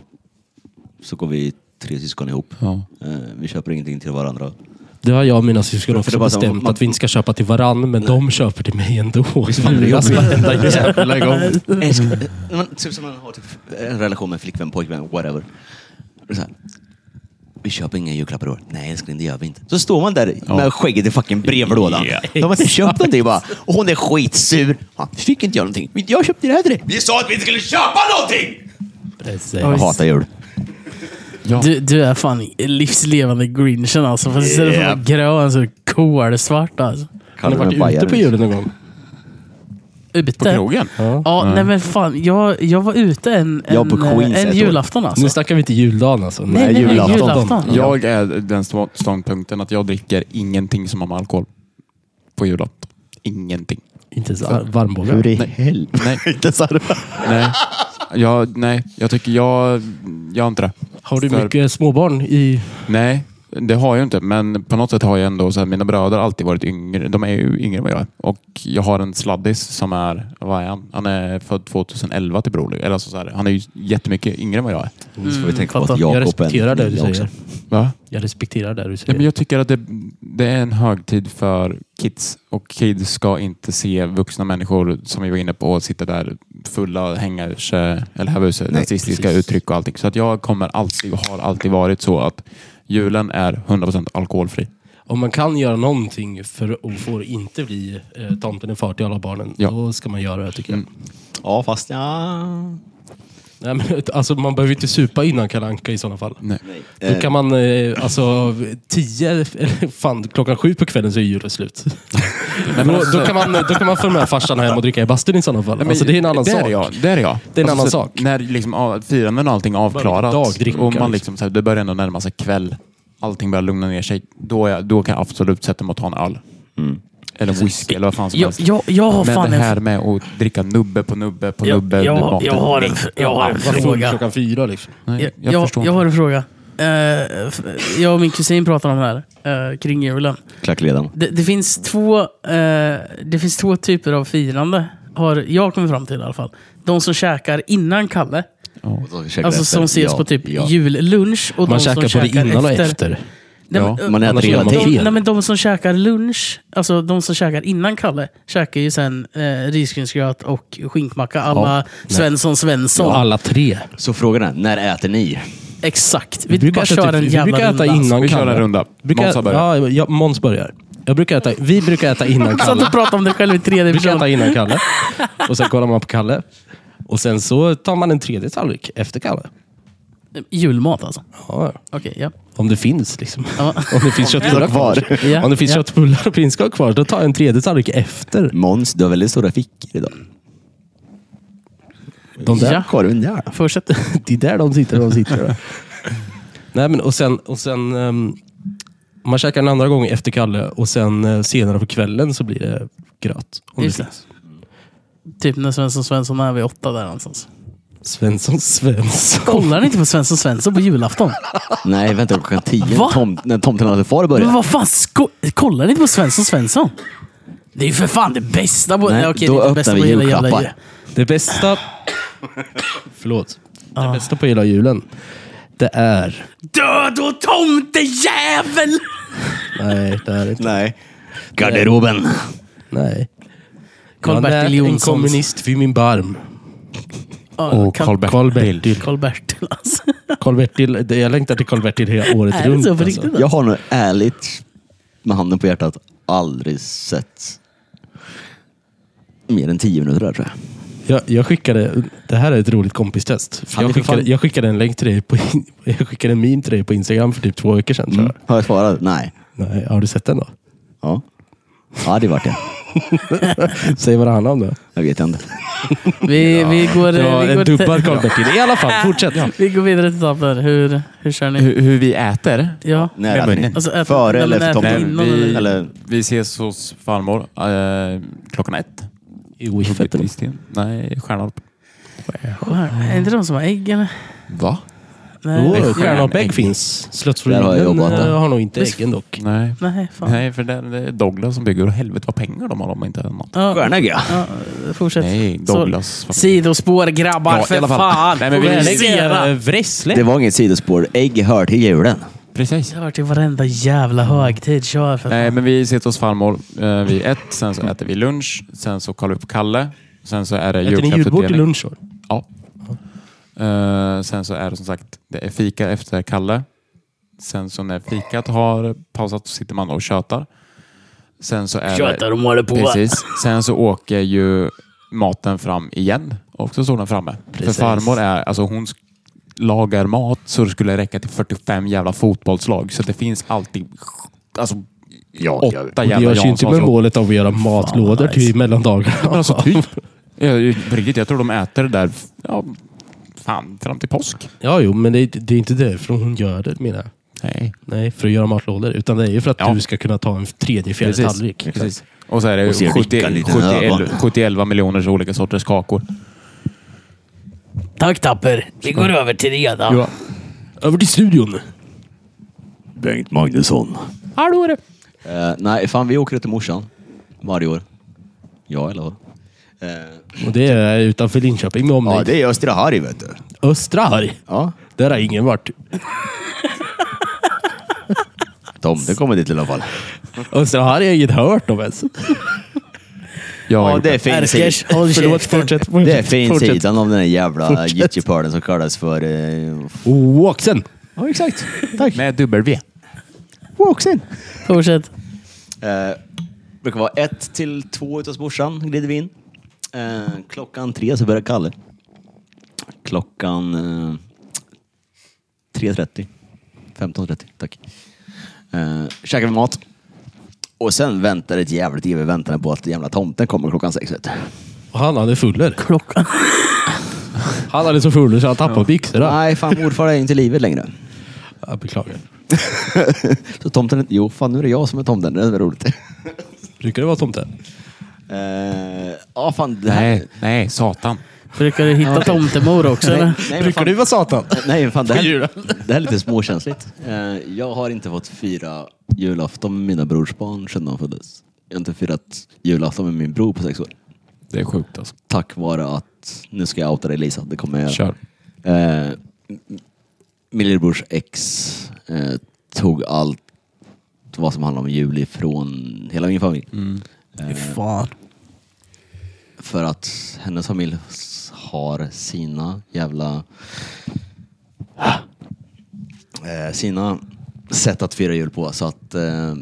S1: Så går vi tre syskon ihop.
S4: Ja.
S1: Eh, vi köper ingenting till varandra.
S3: Det har jag och mina syskon
S1: För det
S3: också
S1: är bara så här,
S3: bestämt
S1: man-
S3: att vi inte ska köpa till varann, men de köper till mig ändå.
S1: Visst <laughs> fan, det är
S3: Luras
S1: jobbigt.
S3: varenda jävla gång.
S1: Älskar-
S3: Mm.
S1: eh, man- Typ som man har typ en relation med flickvän, pojkvän, whatever. Det är Så här. Vi köper inga julklappar i år. Nej älskling, det gör vi inte. Så står man där med skägget i fucking brevlådan.
S3: Ja,
S1: De har inte köpt någonting bara. Och hon är skitsur. Ja, fick inte jag någonting. Men Jag köpte det här till dig. Vi sa att vi inte skulle köpa någonting!
S3: Precis.
S1: Jag hatar jul.
S4: Ja.
S2: Du, du är fan livslevande grinchen alltså. Fast istället för att vara grön så är du alltså, kolsvart alltså.
S3: Har ni
S1: Kallar mig
S3: varit ute
S1: bajare.
S3: på julen någon gång?
S2: Ute.
S4: På krogen?
S2: Ja, nej men fan. Jag, jag var ute en, en,
S1: Jag på Queens
S2: eh,
S1: ett
S2: en
S1: år.
S2: julafton alltså.
S3: Nu snackar vi inte juldagen alltså.
S2: Nej, nej, nej, julafton. julafton.
S4: Jag är den stå- ståndpunkten att jag dricker ingenting som har med alkohol på julafton. Ingenting.
S3: Inte så här varmbågar.
S1: i helvete?
S2: <laughs>
S4: Nej,
S1: Inte så här.
S3: Mm.
S4: nej. Jag, nej, jag tycker jag... Jag har inte det.
S3: Har du
S4: För-
S3: mycket småbarn i...
S4: Nej, det har jag inte. Men på något sätt har jag ändå... Så här, mina bröder har alltid varit yngre. De är ju yngre än vad jag är. Och jag har en sladdis som är... Vad är han? Han är född 2011 till bror. Eller alltså så här, han är ju jättemycket yngre än vad jag är.
S1: Så får vi tänka på att
S2: fattar.
S1: Jakob
S3: Jag
S1: är en
S3: respekterar det du
S1: ninja också.
S3: säger.
S4: Va?
S3: Jag respekterar det du
S4: Ja, men
S3: säger.
S4: jag tycker att det, det är en högtid för kids. Och kids ska inte se vuxna människor, som vi var inne på, sitta där fulla, hänga ur sig, eller häva ur sig rasistiska
S3: precis.
S4: uttryck och allting. Så att jag kommer alltid, och har alltid varit så att Julen är 100% alkoholfri.
S3: Om man kan göra någonting för och får inte bli eh, tomten är far till alla barnen,
S4: Ja. Mm.
S3: då ska man göra det tycker jag.
S1: Ja, fast ja...
S3: Nej, men, <laughs> alltså, man behöver ju inte supa innan Kalle Anka i sådana fall.
S4: Nej.
S3: Då kan man, eh, alltså, tio, eller fan, klockan sju på kvällen så är julen slut.
S4: men
S3: då,
S4: alltså-
S3: då, kan man, då kan man följa med farsan hem och dricka i bastun i sådana fall.
S4: Nej, men
S3: alltså, det är en annan
S4: där
S3: sak.
S4: Är jag, där är jag.
S3: Det är en annan
S4: så
S3: sak.
S4: När liksom, av- firanden och allting är
S3: Bara
S4: avklarat
S3: dagdricka,
S4: och man
S3: liksom.
S4: liksom, så här, det börjar ändå närma sig kväll. Allting börjar lugna ner sig. Då, är, jag- då kan jag absolut sätta mig och ta en öl.
S3: Mm.
S4: Eller whisky eller vad fan som
S2: Jag,
S4: helst.
S2: jag, jag har
S4: Men
S2: fan
S4: det
S2: en...
S4: här med att dricka nubbe på nubbe på
S2: Jag,
S4: nubbe. det
S2: jag,
S4: maten.
S2: jag, har en, jag har en
S3: Var full
S2: fråga.
S3: klockan fyra liksom.
S4: Nej,
S2: Jag,
S4: jag,
S2: jag,
S4: förstår
S2: jag
S4: inte.
S2: har en fråga. Eh, f- jag och min kusin pratade om det här, eh, kring julen.
S1: Klackledaren.
S2: Det, det, finns två, eh, det finns två typer av firande, har jag kommit fram till i alla fall. De som käkar innan Kalle,
S1: Och så käkar
S2: alltså
S1: efter.
S2: som ses
S1: Ja,
S2: på typ
S1: ja.
S2: jullunch. Och
S3: Man
S2: de som
S3: käkar både innan och efter.
S2: Nej, men,
S4: Ja,
S2: eh,
S1: Man äter
S3: Annars
S1: hela
S3: gör man
S1: tiden.
S2: de,
S3: fel.
S2: nej, men de som käkar lunch, alltså de som käkar innan Kalle, käkar ju sen eh, risgrynsgröt och skinkmacka alla Svensson Svensson.
S3: Alla tre.
S1: Så frågan är, när äter ni?
S2: Exakt. Vi, bara kör en
S3: vi
S2: jävla
S3: brukar
S2: runda.
S3: äta
S2: <laughs>
S3: innan
S4: Vi kör
S3: Kalle.
S4: en runda.
S3: Brukar,
S4: Måns har börjat.
S3: ja, ja, Måns börjar. Jag brukar äta, vi brukar äta
S2: <laughs>
S3: innan
S2: Jag satt
S3: Kalle.
S2: och pratade om det själv i tredje
S3: Vi brukar äta
S2: person. <laughs>
S3: innan Kalle. Och sen kollar man på Kalle. Och sen så tar man en tredje tallrik efter Kalle.
S2: Julmat alltså.
S3: Ja,
S2: Okej, ja.
S3: om det finns liksom.
S2: Ja.
S3: Om det finns köttbullar kvar.
S2: Ja,
S3: Om det finns
S2: ja.
S3: köttbullar och prinskorv kvar, då tar jag en tredje tallrik efter.
S1: Måns, du har väldigt stora fickor idag.
S3: De där
S2: Ja.
S1: korven där.
S2: Fortsätt.
S3: Det är där de sitter,
S2: <laughs>
S3: de sitter. Nej, men och sen, och sen ehm, man käkar en andra gång efter Kalle och sen eh, senare på kvällen så blir det gröt. Om det
S2: Just det.
S3: finns.
S2: Typ när Svensson Svensson är vid åtta där någonstans.
S3: Svensson, Svensson.
S2: Kollar ni inte på Svensson Svensson på julafton?
S1: Nej, vänta klockan tio.
S2: Va?
S1: Tom, när tomten hade far
S2: Men
S1: började.
S2: vad fan, sko- kollar ni inte på Svensson Svensson? Det är ju för fan det bästa på...
S1: Nej,
S2: okej,
S1: då
S2: det är inte det
S1: öppnar
S2: bästa
S1: vi
S2: på hela jävla
S1: julklappar.
S2: ju- <laughs>
S3: Det bästa... Förlåt.
S2: Ah.
S3: Det bästa på hela julen, det är...
S2: Död och tomtejävel!
S3: Nej, det är inte.
S1: Nej. Garderoben.
S3: Nej. Jag har
S2: Karl-Bertil
S3: närt en
S2: Jonssons...
S3: kommunist vid min barm.
S2: Ja,
S4: Och
S2: Karl-
S4: Carl
S3: Karl-Bertil.
S2: Karl-Bertil alltså.
S3: Karl-Bertil. det- Jag längtar till
S2: <laughs>
S3: Karl-Bertil hela året
S2: Är det
S3: runt.
S2: så på
S3: alltså.
S2: riktigt?
S1: Jag har nog ärligt, med handen på hjärtat, aldrig sett mer än tio minuter där tror jag.
S3: Jag, jag skickade, det här är ett roligt kompistest. För
S1: Fan,
S3: jag,
S1: det är för
S3: skickade,
S1: fan-
S3: jag skickade en länk till dig på, in- <laughs> jag skickade en meme till dig på Instagram för typ två veckor sedan. Tror jag.
S1: Mm. Har jag svarat? Nej.
S2: Mm.
S3: Nej, har du sett den då?
S1: Ja. Ja, det vart jag.
S3: Säg vad det handlar om då.
S1: Jag vet inte.
S2: Vi, vi går...
S3: Det var
S2: vi,
S3: en
S2: går
S3: dubbad Karl-Bertil. I alla fall, fortsätt.
S2: vi går vidare till tomten. Hur, hur kör ni?
S4: Hur, hur vi äter?
S2: Ja.
S1: När
S4: men-
S1: äter ni?
S2: Alltså, äter-
S1: Före
S2: nej,
S1: eller
S2: men
S1: efter
S2: äter
S1: tomten?
S4: Nej,
S2: innan
S4: vi,
S2: eller-
S1: Eller-
S4: vi ses hos farmor eh, klockan ett.
S3: I Wiffet. eller?
S4: Visst, Nej, Stjärnarp.
S2: Är inte de som har ägg eller?
S4: Va?
S2: Nej.
S3: Åh,
S4: Stjärnägg.
S3: Stjärnarpägg finns. Slottsruinen
S1: Där har jag jobbat,
S3: eh,
S1: ja.
S3: har nog inte äggen dock.
S4: Nej.
S2: Nej, fan.
S4: Nej, för det det är Douglas som bygger. Och helvete vad pengar de har om inte något.
S2: Ja,
S1: Stjärnägg ja.
S2: ja, fortsätt.
S4: Nej, Douglas.
S2: Så, sidospår grabbar,
S4: Ja, i
S2: för
S4: alla fall.
S2: fan.
S4: Nej, men vi-
S2: Fokusera.
S3: Ser, eh,
S1: Det
S3: Wressle.
S1: var inget sidospår. Ägg hör till julen.
S4: Precis.
S2: Jag har hört till varenda jävla högtid. Kör för fan.
S4: Nej, men vi sitter hos farmor eh, vid ett. Sen så äter vi lunch. Sen så kollar vi på Kalle. Sen så är det
S3: Äter ni julbord till
S4: julklappsutdelning.
S3: lunch? då?
S4: Ja. Eh, sen så är det som sagt det är fika efter Kalle. Sen så när fikat har pausat så sitter man och tjötar. Sen så är
S2: Tjötar
S4: det...
S2: och målar på.
S4: Precis. Sen så åker ju maten fram igen. Och så står den framme.
S3: Precis.
S4: För farmor är... Alltså hon sk- lagar mat så det skulle räcka till 45 jävla fotbollslag. Så det finns alltid... Alltså,
S1: Ja,
S4: åtta
S1: ja.
S3: Och
S4: jävla
S3: Det görs ju inte med
S4: Janssons-
S3: målet av att göra matlådor typ
S2: nice.
S3: till mellandagarna.
S4: Ja,
S3: <laughs>
S4: men alltså typ. Jag, på riktigt, jag tror de äter det där... Ja, fan, fram till påsk.
S3: Ja, jo, men det, är- det är inte därför hon gör det, menar jag.
S4: Nej.
S3: Nej, för att göra matlådor. Utan det är ju för att
S4: Ja.
S3: du ska kunna ta en tredje, fjärde
S4: Precis.
S3: tallrik.
S4: Precis. Och så är det
S1: Och se
S4: 70,
S1: Rickard lite
S4: 70,
S1: öva.
S4: 71 miljoner olika sorters kakor.
S2: Tack Tapper. Vi går över till redan.
S3: Ja. Över till studion.
S1: Bengt Magnusson.
S3: Hallå du!
S1: Eh, nej, fan vi åker till morsan. Varje år. Ja, eller vad? Eh,
S3: Och det är utanför Linköping med omnejd.
S1: är Östra Harry vet du.
S3: Östra Harg.
S1: Ja.
S3: Där har ingen varit.
S1: Tom, det kommer dit i alla fall.
S3: Östra Harg har jag inget hört om ens.
S4: Jag har gjort det.
S2: Ärkers, håll
S3: Förlåt,
S2: käften.
S3: fortsätt.
S1: Det är
S3: fortsätt,
S1: fin
S3: fortsätt.
S1: sidan av den här jävla
S3: Fortsätt.
S1: gyttjepölen som kallas för... Eh,
S3: Oaxen.
S5: Ja, exakt. Tack.
S4: Med W.
S5: Walks in.
S2: Fortsätt.
S1: Eh, brukar vara ett till två ute hos morsan, glider vi in. Eh, klockan tre så börjar Kalle. Klockan eh, 3.30. 15.30, tack. Eh, käkar vi mat. Och sen väntar ett jävligt evigt väntan på att jävla tomten kommer klockan sex. Vet du.
S3: Och han hade fuller.
S2: Klockan.
S3: Han hade så fuller så han tappade byxorna.
S1: Nej, fan morfar är inte i livet längre.
S3: Jag beklagar.
S1: Så tomten, jo fan nu är det jag som är tomten, det är väl roligt.
S3: Brukar det vara tomte?
S1: Eh, ja fan, det här...
S4: Nej, nej, satan.
S2: Brukar du hitta tomtemor också eller?
S1: nej, men
S3: Brukar
S1: fan-
S3: du vara satan?
S1: Nej, fan, det,
S3: På
S1: här,
S3: julen.
S1: det här är lite småkänsligt. Eh, Jag har inte fått fira julafton med mina brors barn sedan de föddes. Jag har inte firat julafton med min bror på sex år.
S4: Det är sjukt alltså.
S1: Tack vare att, nu ska jag outa dig Lisa, det kommer jag göra.
S4: Kör.
S1: Eh, Min lillebrors ex eh, tog allt vad som handlar om jul ifrån hela min familj.
S3: Mm.
S2: Fy fan.
S1: För att hennes familj har sina jävla... Eh, sina sätt att fira jul på. Så att eh,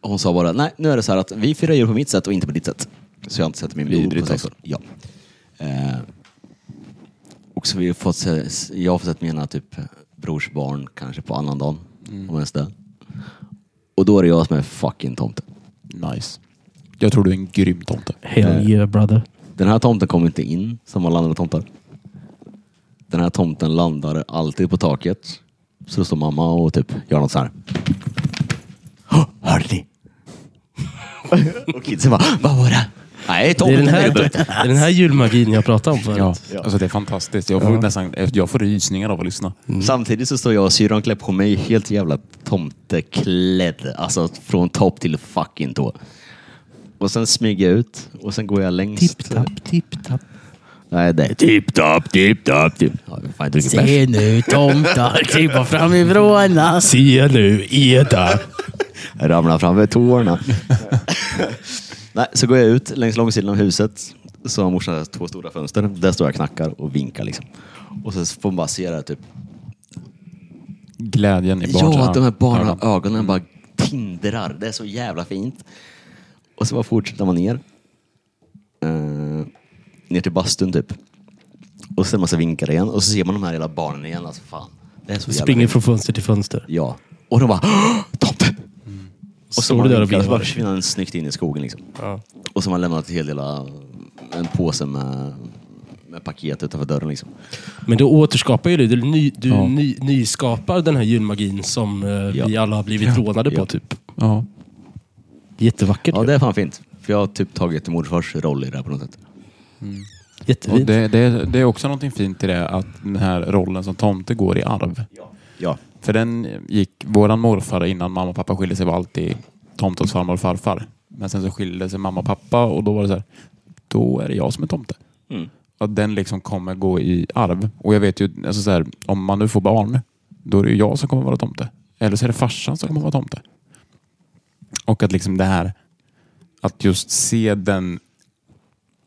S1: hon sa bara, nej nu är det så här att vi firar jul på mitt sätt och inte på ditt sätt. Så jag har inte sett min bror på
S4: Vidrigt
S1: sex år. Ja. Eh, och så vi har fått se, jag har fått sett mina typ brors barn kanske på annan dag om ens det. Och då är det jag som är fucking tomten.
S4: Nice. Jag tror du är en grym tomte.
S3: Hell yeah brother.
S1: Den här tomten kom inte in som alla andra tomtar. Den här tomten landade alltid på taket. Så då står mamma och typ gör något så här. "Hå, Hörde ni? <laughs> och kidsen bara, vad var det? Nej,
S3: Det är,
S1: tomten
S3: den här,
S1: är
S3: det
S1: det.
S3: är den här julmagin jag pratade om förut.
S4: Ja, alltså det är fantastiskt. Jag får, nästan, jag får rysningar av att lyssna.
S1: Samtidigt så står jag och syrran klär på mig helt jävla tomteklädd. Alltså från topp till fucking tå. Och sen smyger jag ut och sen går jag längst.
S3: Tipp-tapp, tipp-tapp.
S1: Nej, det är tipp-tapp, tipp-tapp. Tipp. Ja, fan, jag dricker bärs.
S2: Se nu tomtar klippa framifrån. Alltså.
S3: Se nu, Eda.
S1: ramlar framför tårna. Nej, så går jag ut längs långsidan av huset. Så har morsan två stora fönster. Där står jag och knackar och vinkar liksom. Och så får man bara se det här typ.
S4: Glädjen i barns
S1: Ja, de här barna
S4: ögon.
S1: ögonen bara tindrar. Det är så jävla fint. Och så bara fortsätter man ner. Eh, ner till bastun typ. Och sen massa vinkar igen. Och så ser man de här hela barnen igen. Alltså fan. Det är så jävla
S3: Springer
S1: fint.
S3: från fönster till fönster.
S1: Ja. Och de bara Tomte! Och så
S3: Står du där och
S1: vinkar, så bara
S3: blivar.
S1: försvinner den snyggt in i skogen liksom.
S3: Ja.
S1: Och som har lämnat en hel del av- en påse med, med paket utanför dörren liksom.
S3: Men du återskapar ju det. Du, ny, du ny, nyskapar den här julmagin som eh,
S1: Ja.
S3: vi alla har blivit rånade på
S1: Ja.
S3: typ.
S4: Ja.
S3: Jättevackert.
S1: Ja,
S3: ju.
S1: det är fan fint. För jag har typ tagit morfars roll i det här på något sätt.
S4: Och
S3: Jättefint.
S4: det, det, det är också någonting fint i det, att den här rollen som tomte går i arv.
S1: Ja.
S4: För den gick, våran morfar innan mamma och pappa skilde sig var alltid tomtens farmor och farfar. Men sen så skilde sig mamma och pappa och då var det så här, då är det jag som är tomte.
S1: Mm.
S4: Att den liksom kommer gå i arv. Och jag vet ju, alltså så här, om man nu får barn, då är det ju jag som kommer vara tomte. Eller så är det farsan som kommer vara tomte. Och att liksom det här, att just se den,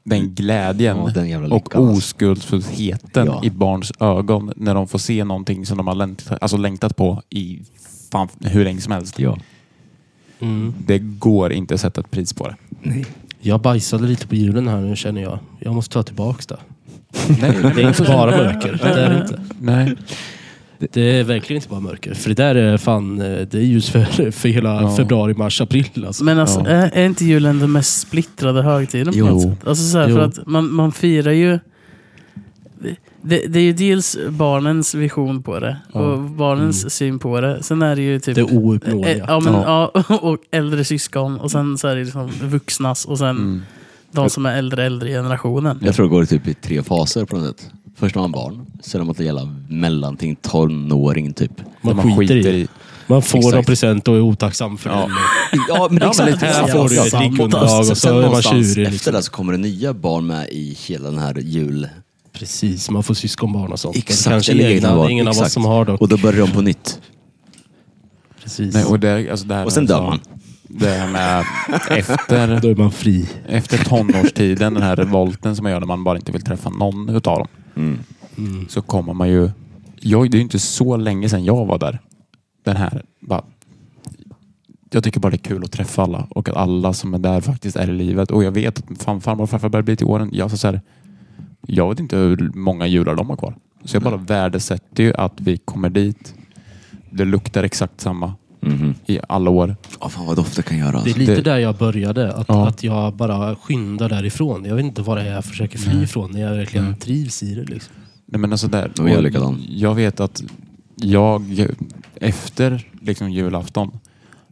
S4: den glädjen
S1: Ja, den jävla
S4: och
S1: lyckan, alltså.
S4: oskuldsfullheten
S1: Ja.
S4: i barns ögon när de får se någonting som de har längtat, alltså längtat på i fan, hur länge som helst.
S3: Mm.
S4: Det går inte att sätta ett pris på det.
S3: Jag bajsade lite på julen här nu känner jag. Jag måste ta tillbaks det.
S4: Nej,
S3: <laughs> Det är inte bara mörker. Det är det inte.
S4: nej.
S3: Det är verkligen inte bara mörker. För det där är fan, eh, det är ljus för, <laughs> för hela
S4: Ja.
S3: februari, mars, april alltså.
S2: Men alltså,
S4: Ja.
S2: är, är inte julen den mest splittrade högtiden på
S4: Jo.
S2: något sätt? Alltså så här,
S3: Jo.
S2: för att man, man firar ju... Det, det är ju dels barnens vision på det och barnens syn på det. Sen är det ju typ...
S3: Det är
S2: eh,
S3: ouppnåeliga.
S2: ja, men, ja. <laughs> och äldre syskon och sen så är det liksom vuxnas och sen de som är äldre, äldre generationen.
S1: Jag tror det går typ i tre faser på något sätt. Först när man barn, sen när man till jävla mellanting, tonåring typ.
S3: Man, skiter, i. Man får
S1: Exakt.
S3: en present och är otacksam för den.
S1: Ja, men
S4: exakt.
S3: Här får du ett
S2: Samma
S3: rickunderlag och
S1: Sen
S3: så är man
S1: någonstans
S3: tjurig.
S1: efter
S3: Liksom.
S1: det så kommer det nya barn med i hela den här jul...
S3: Precis, man får syskonbarn och sånt.
S1: Exakt,
S3: Kanske
S1: eller
S3: egna,
S1: egna barn.
S3: ingen av oss
S1: Exakt.
S3: som har dock.
S1: Och då börjar de på nytt.
S3: Precis.
S4: Nej, och det, alltså det här
S1: Och sen
S4: med-
S1: dör man.
S4: Det här med efter,
S3: då är man fri.
S4: efter tonårstiden, den här revolten som man gör när man bara inte vill träffa någon utav dem. Så kommer man ju jag, det är ju inte så länge sedan jag var där. Den här, bara, jag tycker bara det är kul att träffa alla och att alla som är där faktiskt är i livet. Och jag vet att fan, farmor och farfar börjar bli till åren. Jag, så så här, jag vet inte hur många jular de har kvar. Så jag bara värdesätter ju att vi kommer dit. Det luktar exakt samma i alla år.
S1: Ja, fan vad dofter kan göra.
S3: Det är
S1: Alltså.
S3: lite
S4: Det-
S3: där jag började. Att,
S4: Ja.
S3: att jag bara skyndar därifrån. Jag vet inte vad det är jag försöker fly ifrån. När jag verkligen trivs i det. Liksom.
S4: Nej, men alltså där,
S1: Ja, jag är likadan.
S4: jag vet att jag efter liksom julafton,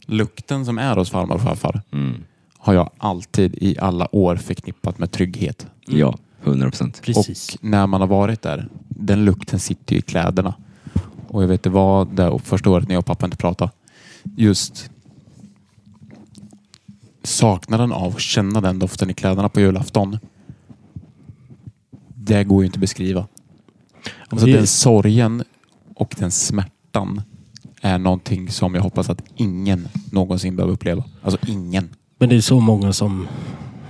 S4: lukten som är hos farmor och farfar
S1: Mm.
S4: har jag alltid i alla år förknippat med trygghet.
S1: Ja, 100 procent.
S3: Precis.
S4: Och när man har varit där, den lukten sitter ju i kläderna. Och jag vet det var där och första året när jag och pappa inte pratade. Just saknaden av att känna den doften i kläderna på julafton. Det går ju inte att beskriva. Alltså
S3: det är-
S4: den sorgen och den smärtan är någonting som jag hoppas att ingen någonsin behöver uppleva. Alltså ingen.
S3: Men det är så många som,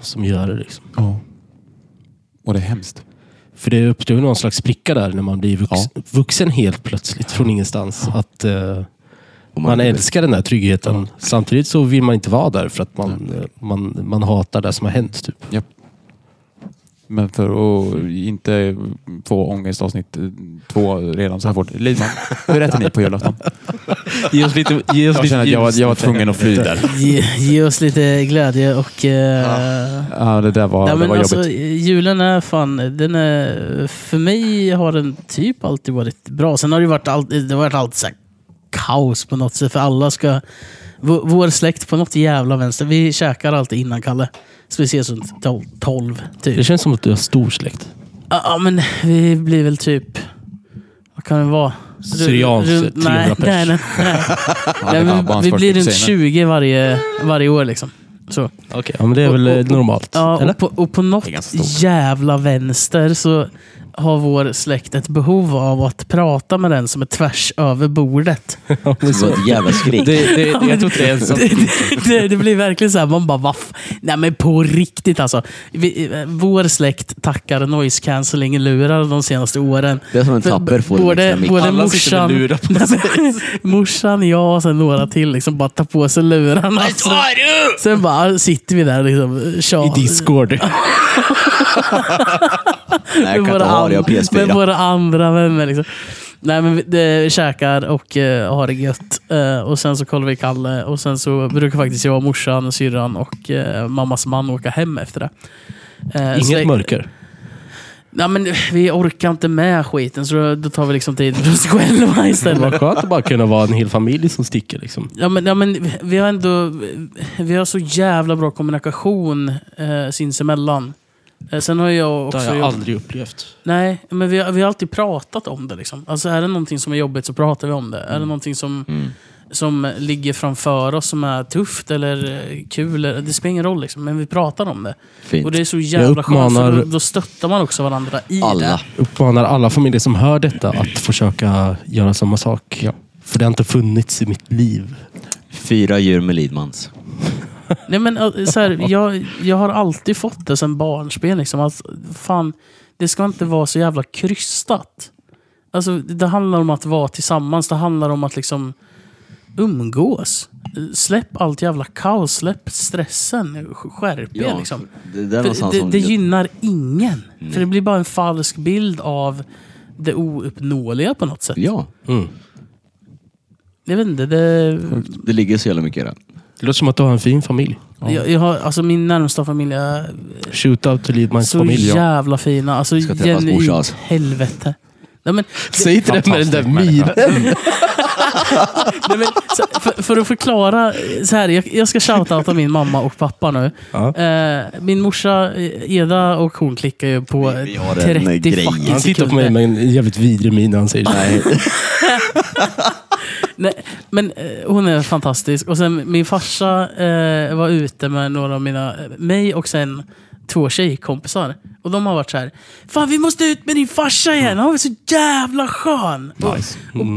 S3: som gör det. Liksom.
S4: Och det är hemskt.
S3: För det uppstår ju någon slags spricka där när man blir vux,
S4: Ja.
S3: vuxen helt plötsligt från ingenstans. Att eh,
S1: Och
S3: man älskar den där tryggheten. Samtidigt så vill man inte vara där för att man, eh, man, man hatar det som har hänt. Typ.
S4: Japp. Men för att
S3: Mm.
S4: inte få ångestavsnitt eh, två redan så här fort. Lidman, hur äter ni
S3: <laughs>
S4: på julafton?
S3: Ge oss lite, ge oss
S4: Jag känner att jag var, jag var tvungen att fly där.
S2: Ge, ge oss lite glädje och... eh,
S4: Ja, det där var,
S2: Ja,
S4: det
S2: men
S4: var
S2: alltså,
S4: jobbigt.
S2: julen är fan, den är, för mig har den typ alltid varit bra. Sen har det varit, all, det har varit alltid så här kaos på något sätt, för alla ska... Vår, vår släkt på något jävla vänster, vi käkar alltid innan Kalle. Så vi ses runt tol- 12, typ.
S3: Det känns som att du har stor släkt.
S2: Ja, ja, men vi blir väl typ... Vad kan det vara? Ru-
S3: Syrianser,
S2: runt-
S3: 300
S2: nej,
S3: pers.
S2: nej, nej, nej.
S4: <laughs> det är fan
S2: nej.
S4: bara
S2: Vi, vi
S4: en
S2: blir runt
S4: 40 kusiner.
S2: 20 varje, varje år liksom. Så.
S3: Okay. Ja, men det är väl
S2: Och- och-
S3: eh, normalt?
S2: Ja,
S3: eller?
S2: och på, och på något
S4: ganska stort.
S2: jävla vänster så har vår släkt ett behov av att prata med den som är tvärs över
S3: <laughs>
S2: bordet.
S1: Det var ett jävla skrik.
S3: Det, det, jag tror inte det är ensamt.
S2: Det, det- det, det blir verkligen så här, man bara vaff. Nej men på riktigt alltså. Vi, eh, vår släkt tackar noise cancelling-lurar de senaste åren.
S1: Det är som en
S2: För
S1: tapper liksom får en
S2: både,
S1: extra mick.
S2: både
S3: Alla sitter med
S2: morsan,
S3: lurar på
S2: Nej, men- <laughs> morsan, jag och sen några till liksom bara tar på sig lurarna.
S3: du!
S2: Sen bara sitter vi där och liksom, tjatar.
S3: I Discord.
S1: Nej, jag kan inte
S2: Med våra
S1: ha det. Jag har
S2: and- <laughs> Med
S1: PS4.
S2: våra andra vänner. Liksom. Nej, men vi, det, vi käkar och eh, har det gött. Eh, och sen så kollar vi Kalle och sen så brukar faktiskt jag, morsan, syrran och eh, mammas man åka hem efter det. Eh, så det-
S3: Inget mörker.
S2: Nej, men vi orkar inte med skiten så då, då tar vi liksom tid för oss själva <laughs>
S3: Det
S2: istället.
S3: var skönt att bara kunna vara en hel familj som sticker. Liksom.
S2: Ja, men, ja, men vi har ändå vi har så jävla bra kommunikation eh, sinsemellan. Eh, sen har jag
S3: Det
S2: också...
S3: har jag
S2: jobbat-
S3: aldrig upplevt.
S2: Nej, men vi har, vi har alltid pratat om det. Liksom. Alltså, är det någonting som är jobbigt så pratar vi om det.
S1: Mm.
S2: Är det någonting som, som ligger framför oss som är tufft eller eh, kul, eller, det spelar ingen roll. Liksom, men vi pratar om det.
S1: Fint.
S2: Och det är så jävla skönt, för då,
S3: uppmanar-
S2: då stöttar man också varandra i
S1: Alla.
S2: det.
S3: Uppmanar alla familjer som hör detta att försöka göra samma sak. För det har inte funnits i mitt liv.
S1: Fyra djur med Lidmans.
S2: Nej, men, eh, så här, jag, jag har alltid fått det sen barnsben. Liksom, att, fan, det ska inte vara så jävla krystat. Alltså, det handlar om att vara tillsammans. Det handlar om att liksom umgås. Eh, Släpp allt jävla kaos. Släpp stressen. sk- Skärp er.
S1: Ja,
S2: liksom.
S1: det är där
S2: För
S1: någonstans
S2: det,
S1: som-
S2: det gynnar ingen. För det blir bara en falsk bild av det ouppnåeliga på något sätt.
S1: Ja,
S3: Mm.
S2: Jag vet inte. Det,
S1: det ligger så jävla mycket i det.
S3: Det låter som att du har en fin familj.
S2: jag, jag har, alltså min närmsta familj är
S3: Shootout till Lidmans
S2: Så
S3: familj.
S2: jävla fina. Alltså
S1: Ska träffas
S2: genuint
S1: morsa, alltså.
S2: helvete. Nej,
S3: <laughs>
S2: men,
S3: Säg inte det med den där minen.
S2: nej, men, så, för, för att förklara, eh, så här, jag, jag ska shoutouta min mamma och pappa nu.
S3: Ja.
S2: Eh, min morsa eh, Eda och hon klickar ju på
S1: Vi- vi har en
S2: 30
S1: grej.
S2: fucking
S3: Han tittar på mig
S2: sekunder.
S3: med en jävligt vidrig min när han säger Nej.
S2: Nej, men eh, hon är fantastisk. Och sen min farsa eh, var ute med några av mina, eh, mig och sen två tjejkompisar. Och de har varit så här, Fan vi måste ut med din farsa igen, han var så jävla skön. Och,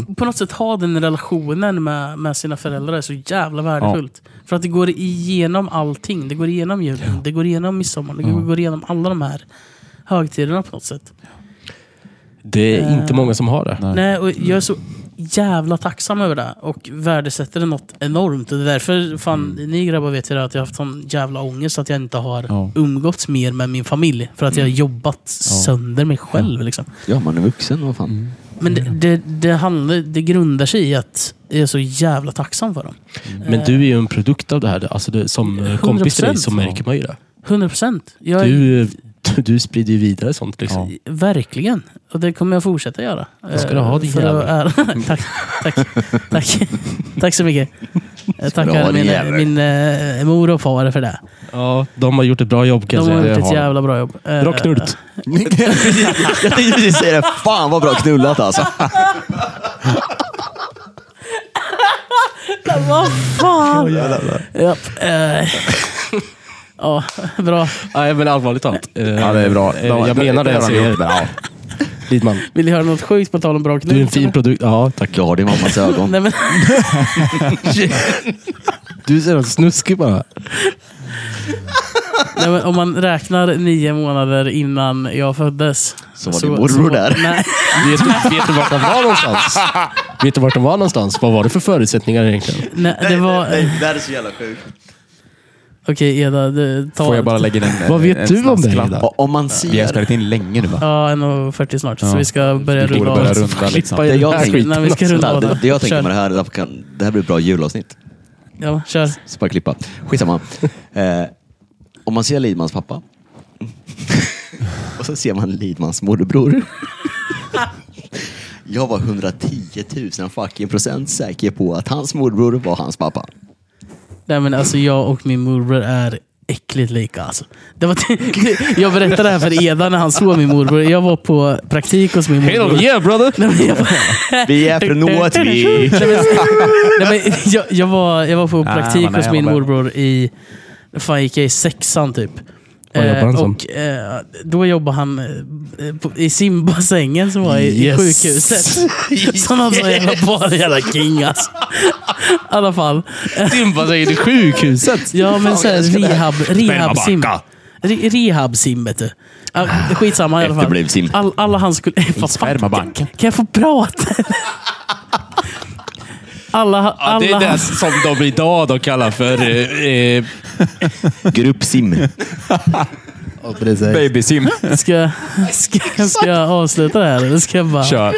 S2: och på något sätt ha den relationen med, med sina föräldrar är så jävla värdefullt. För att det går igenom allting. Det går igenom julen, det går igenom midsommar, det går igenom alla de här högtiderna på något sätt.
S3: Det är inte många som har det.
S2: Nej, och jag är så jävla tacksam över det och värdesätter det något enormt. Och det är därför, fan, ni grabbar vet ju det, att jag har haft sån jävla ångest att jag inte har
S4: Ja.
S2: umgåtts mer med min familj. För att jag har jobbat sönder mig själv. Liksom.
S1: Ja, man är vuxen. Vad fan.
S3: Mm.
S2: Men det, det, det, handlar, det grundar sig i att jag är så jävla tacksam för dem.
S3: Men du är ju en produkt av det här. Alltså det, som eh, kompis till dig så
S2: 100%.
S3: märker man ju det.
S2: 100 procent.
S3: Du, eh, du sprider ju vidare sånt. Liksom.
S2: Verkligen. Och det kommer jag fortsätta göra. Eh, Jag
S3: ska du ha, din
S2: <laughs> tack, tack, tack. <laughs> tack så mycket. Jag
S1: du ha,
S2: tackar
S1: din
S2: min,
S1: jävel.
S2: min eh, mor och far för det.
S3: Ja. de har gjort ett bra jobb kan jag
S2: De har
S3: säga.
S2: gjort
S4: det
S2: ett
S4: har de.
S2: jävla bra jobb. Eh,
S3: Bra knult.
S1: jag tänkte precis säga <laughs> det. Fan vad bra knullat alltså.
S2: Vad fan! eh, Japp, eh, <laughs> Ja, bra.
S3: Nej, men allvarligt talat. Eh,
S4: Ja, det är bra.
S3: eh, Jag menar det jag
S4: har de gjort.
S3: säger.
S4: Ja.
S3: Lidman,
S2: Vill ni höra något sjukt på tal om bra knut?
S3: du är en fin produkt. Ja, tack.
S1: Du har din mammas ögon.
S2: Nej, men, <laughs>
S3: Du är så jävla snuskig bara.
S2: nej, men om man räknar nio månader innan jag föddes.
S1: Så var din morbror där.
S2: Nej,
S3: Vet du, vet du vart de var någonstans? Vet du vart de var någonstans? Vad var det för förutsättningar egentligen?
S2: nej, det var...
S1: det här är så jävla sjukt.
S2: Okej, Eda. du- Ta,
S4: Får jag bara lägga in en
S3: Vad vet
S4: en
S3: du om det,
S4: snaskklapp?
S3: Ida?
S1: Om man
S4: Vi har
S1: ser...
S4: spelat in länge nu va?
S2: Ja, 1.40 snart. Så vi ska börja
S4: Vi borde
S2: runda
S4: börja
S2: av.
S4: runda liksom.
S3: Klippa i
S1: Det jag
S3: den här
S1: tänkte-
S3: skiten.
S2: Nej, vi ska runda av.
S1: Det, det jag tänker
S2: Kör.
S1: med det här, det här kan- det här blir ett bra julavsnitt.
S2: Ja, kör.
S1: Så bara klippa.
S2: <laughs>
S1: Skitsamma. Eh, om man ser Lidmans pappa. Och så ser man Lidmans morbror. <laughs> Jag var 110 000 fucking procent säker på att hans morbror var hans pappa.
S2: Nej, men alltså jag och min morbror är äckligt lika. Alltså. Det var <laughs> jag berättade det här för Eda när han såg min morbror. Jag var på praktik hos min
S3: Hej då,
S2: morbror.
S3: yeah brother!
S2: Nej, men jag, var-
S1: Vi är från
S2: <laughs>
S1: Åtvi.
S2: nej,
S3: <laughs>
S2: men jag, jag, var, jag var på praktik
S4: man är
S2: hos min
S4: alla.
S2: morbror i, fan gick jag i sexan typ.
S3: Vad jobbar han som?
S2: och eh, då jobbade han eh, på, i simbassängen som var i,
S3: Yes.
S2: i sjukhuset. <laughs> Som han var jävla, bara jävla king alltså. I alla fall.
S3: Simba säger till sjukhuset.
S2: Ja, men såhär rehab, rehabsim.
S3: Spermabacka.
S2: Re, rehabsim vet du. Ja, Skitsamma i alla fall.
S1: Efterbliv sim.
S2: All, alla han skulle... <laughs> Vad fan, kan,
S4: Spermabanken.
S2: kan jag få prata? Alla,
S3: Ja,
S2: alla,
S3: det är det som de idag då kallar för... Eh, eh,
S1: Gruppsim.
S4: Babysim.
S2: Ska, ska, ska jag avsluta det här eller ska jag bara...
S4: Kör.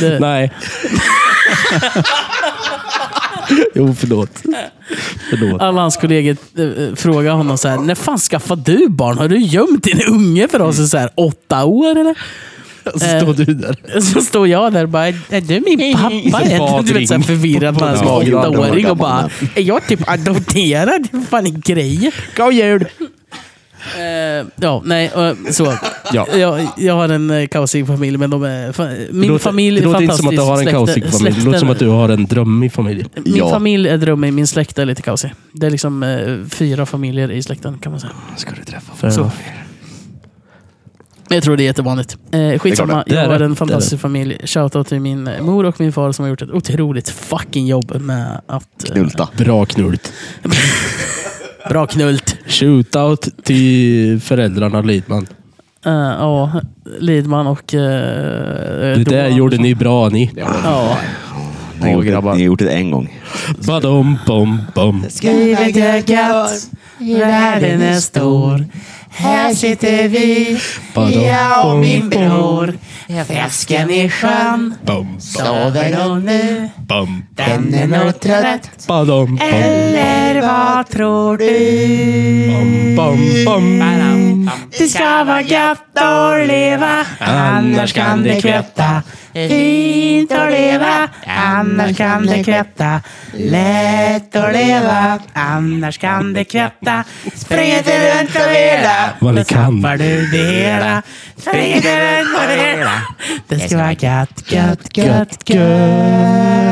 S2: <laughs> Det,
S3: nej. jo, förlåt. Förlåt.
S2: alla hans kollegor eh, frågar honom så här, när fan skaffade du barn? Har du gömt din unge för oss i så här, åtta år eller? Eh,
S3: Så står du där.
S2: Så står jag där och bara, är du min pappa?
S3: Badring.
S2: Är du, du vet, så här förvirrad man är som
S1: Ja,
S2: åttaåring
S1: gammal,
S2: och bara, är jag typ adopterad? Vad fan är grejen?
S3: God jul!
S2: Eh, ja, nej, eh, så.
S4: Ja.
S2: Jag, jag har en eh, kaosig familj, men de är, fa- min
S3: Det låter-
S2: familj är
S3: Det låter inte
S2: fantastisk.
S3: som att du har
S2: Släkten-
S3: en kaosig familj. Det låter som att du har en drömmig familj.
S2: Min
S1: Ja.
S2: familj är drömmig, min släkt är lite kaosig. Det är liksom eh, fyra familjer i släkten kan man säga.
S1: Ska du träffa
S3: För-
S2: Så. Men Jag tror det är jättevanligt. Eh, skitsamma,
S3: Det är
S2: jag
S3: det.
S2: har
S3: Det är
S2: en fantastisk familj. Shoutout till min eh, mor och min far som har gjort ett otroligt fucking jobb med att... Eh,
S1: Knulta.
S3: Bra knult.
S2: bra knult.
S3: Shootout till föräldrarna Lidman.
S2: Eh, Ja, Lidman och... eh, Det
S3: Det där gjorde ni bra ni.
S2: Ja.
S1: Ni har gjort det- ni har gjort det en gång.
S3: Badum, bom, bom.
S2: Skriv ett ögat, världen är stor. Här sitter vi,
S3: Badum,
S2: jag och
S3: bom,
S2: min bror. Fläsken i sjön,
S3: bom,
S2: sover de nu?
S3: bom.
S2: Den är nog trött.
S3: Badum, bom,
S2: Eller vad tror du?
S3: bom, bom, bom.
S2: Det ska vara gött att leva, annars kan det kvätta. Fint att leva, annars kan det kvätta. Lätt att leva, annars kan det kvätta. Spring inte runt och vela,
S3: Vad ni kan.
S2: tappar du det hela. Spring inte runt och vela. Det ska vara gött, gött, gött,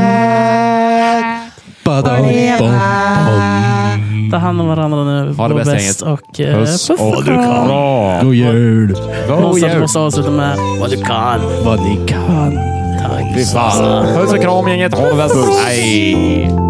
S2: gött.
S3: Badum, bom, bom.
S2: Ta hand om varandra nu.
S4: Mm. Ha det
S2: Må
S4: bästa,
S2: bäst
S4: gänget.
S2: och eh, puss och kram.
S4: kram.
S3: God jul.
S4: God
S2: Måste,
S4: jul.
S2: måste avsluta med vad du kan.
S3: Vad ni kan.
S2: Tack.
S4: Fy fan. Puss och kram gänget. Ha det bäst. Hej.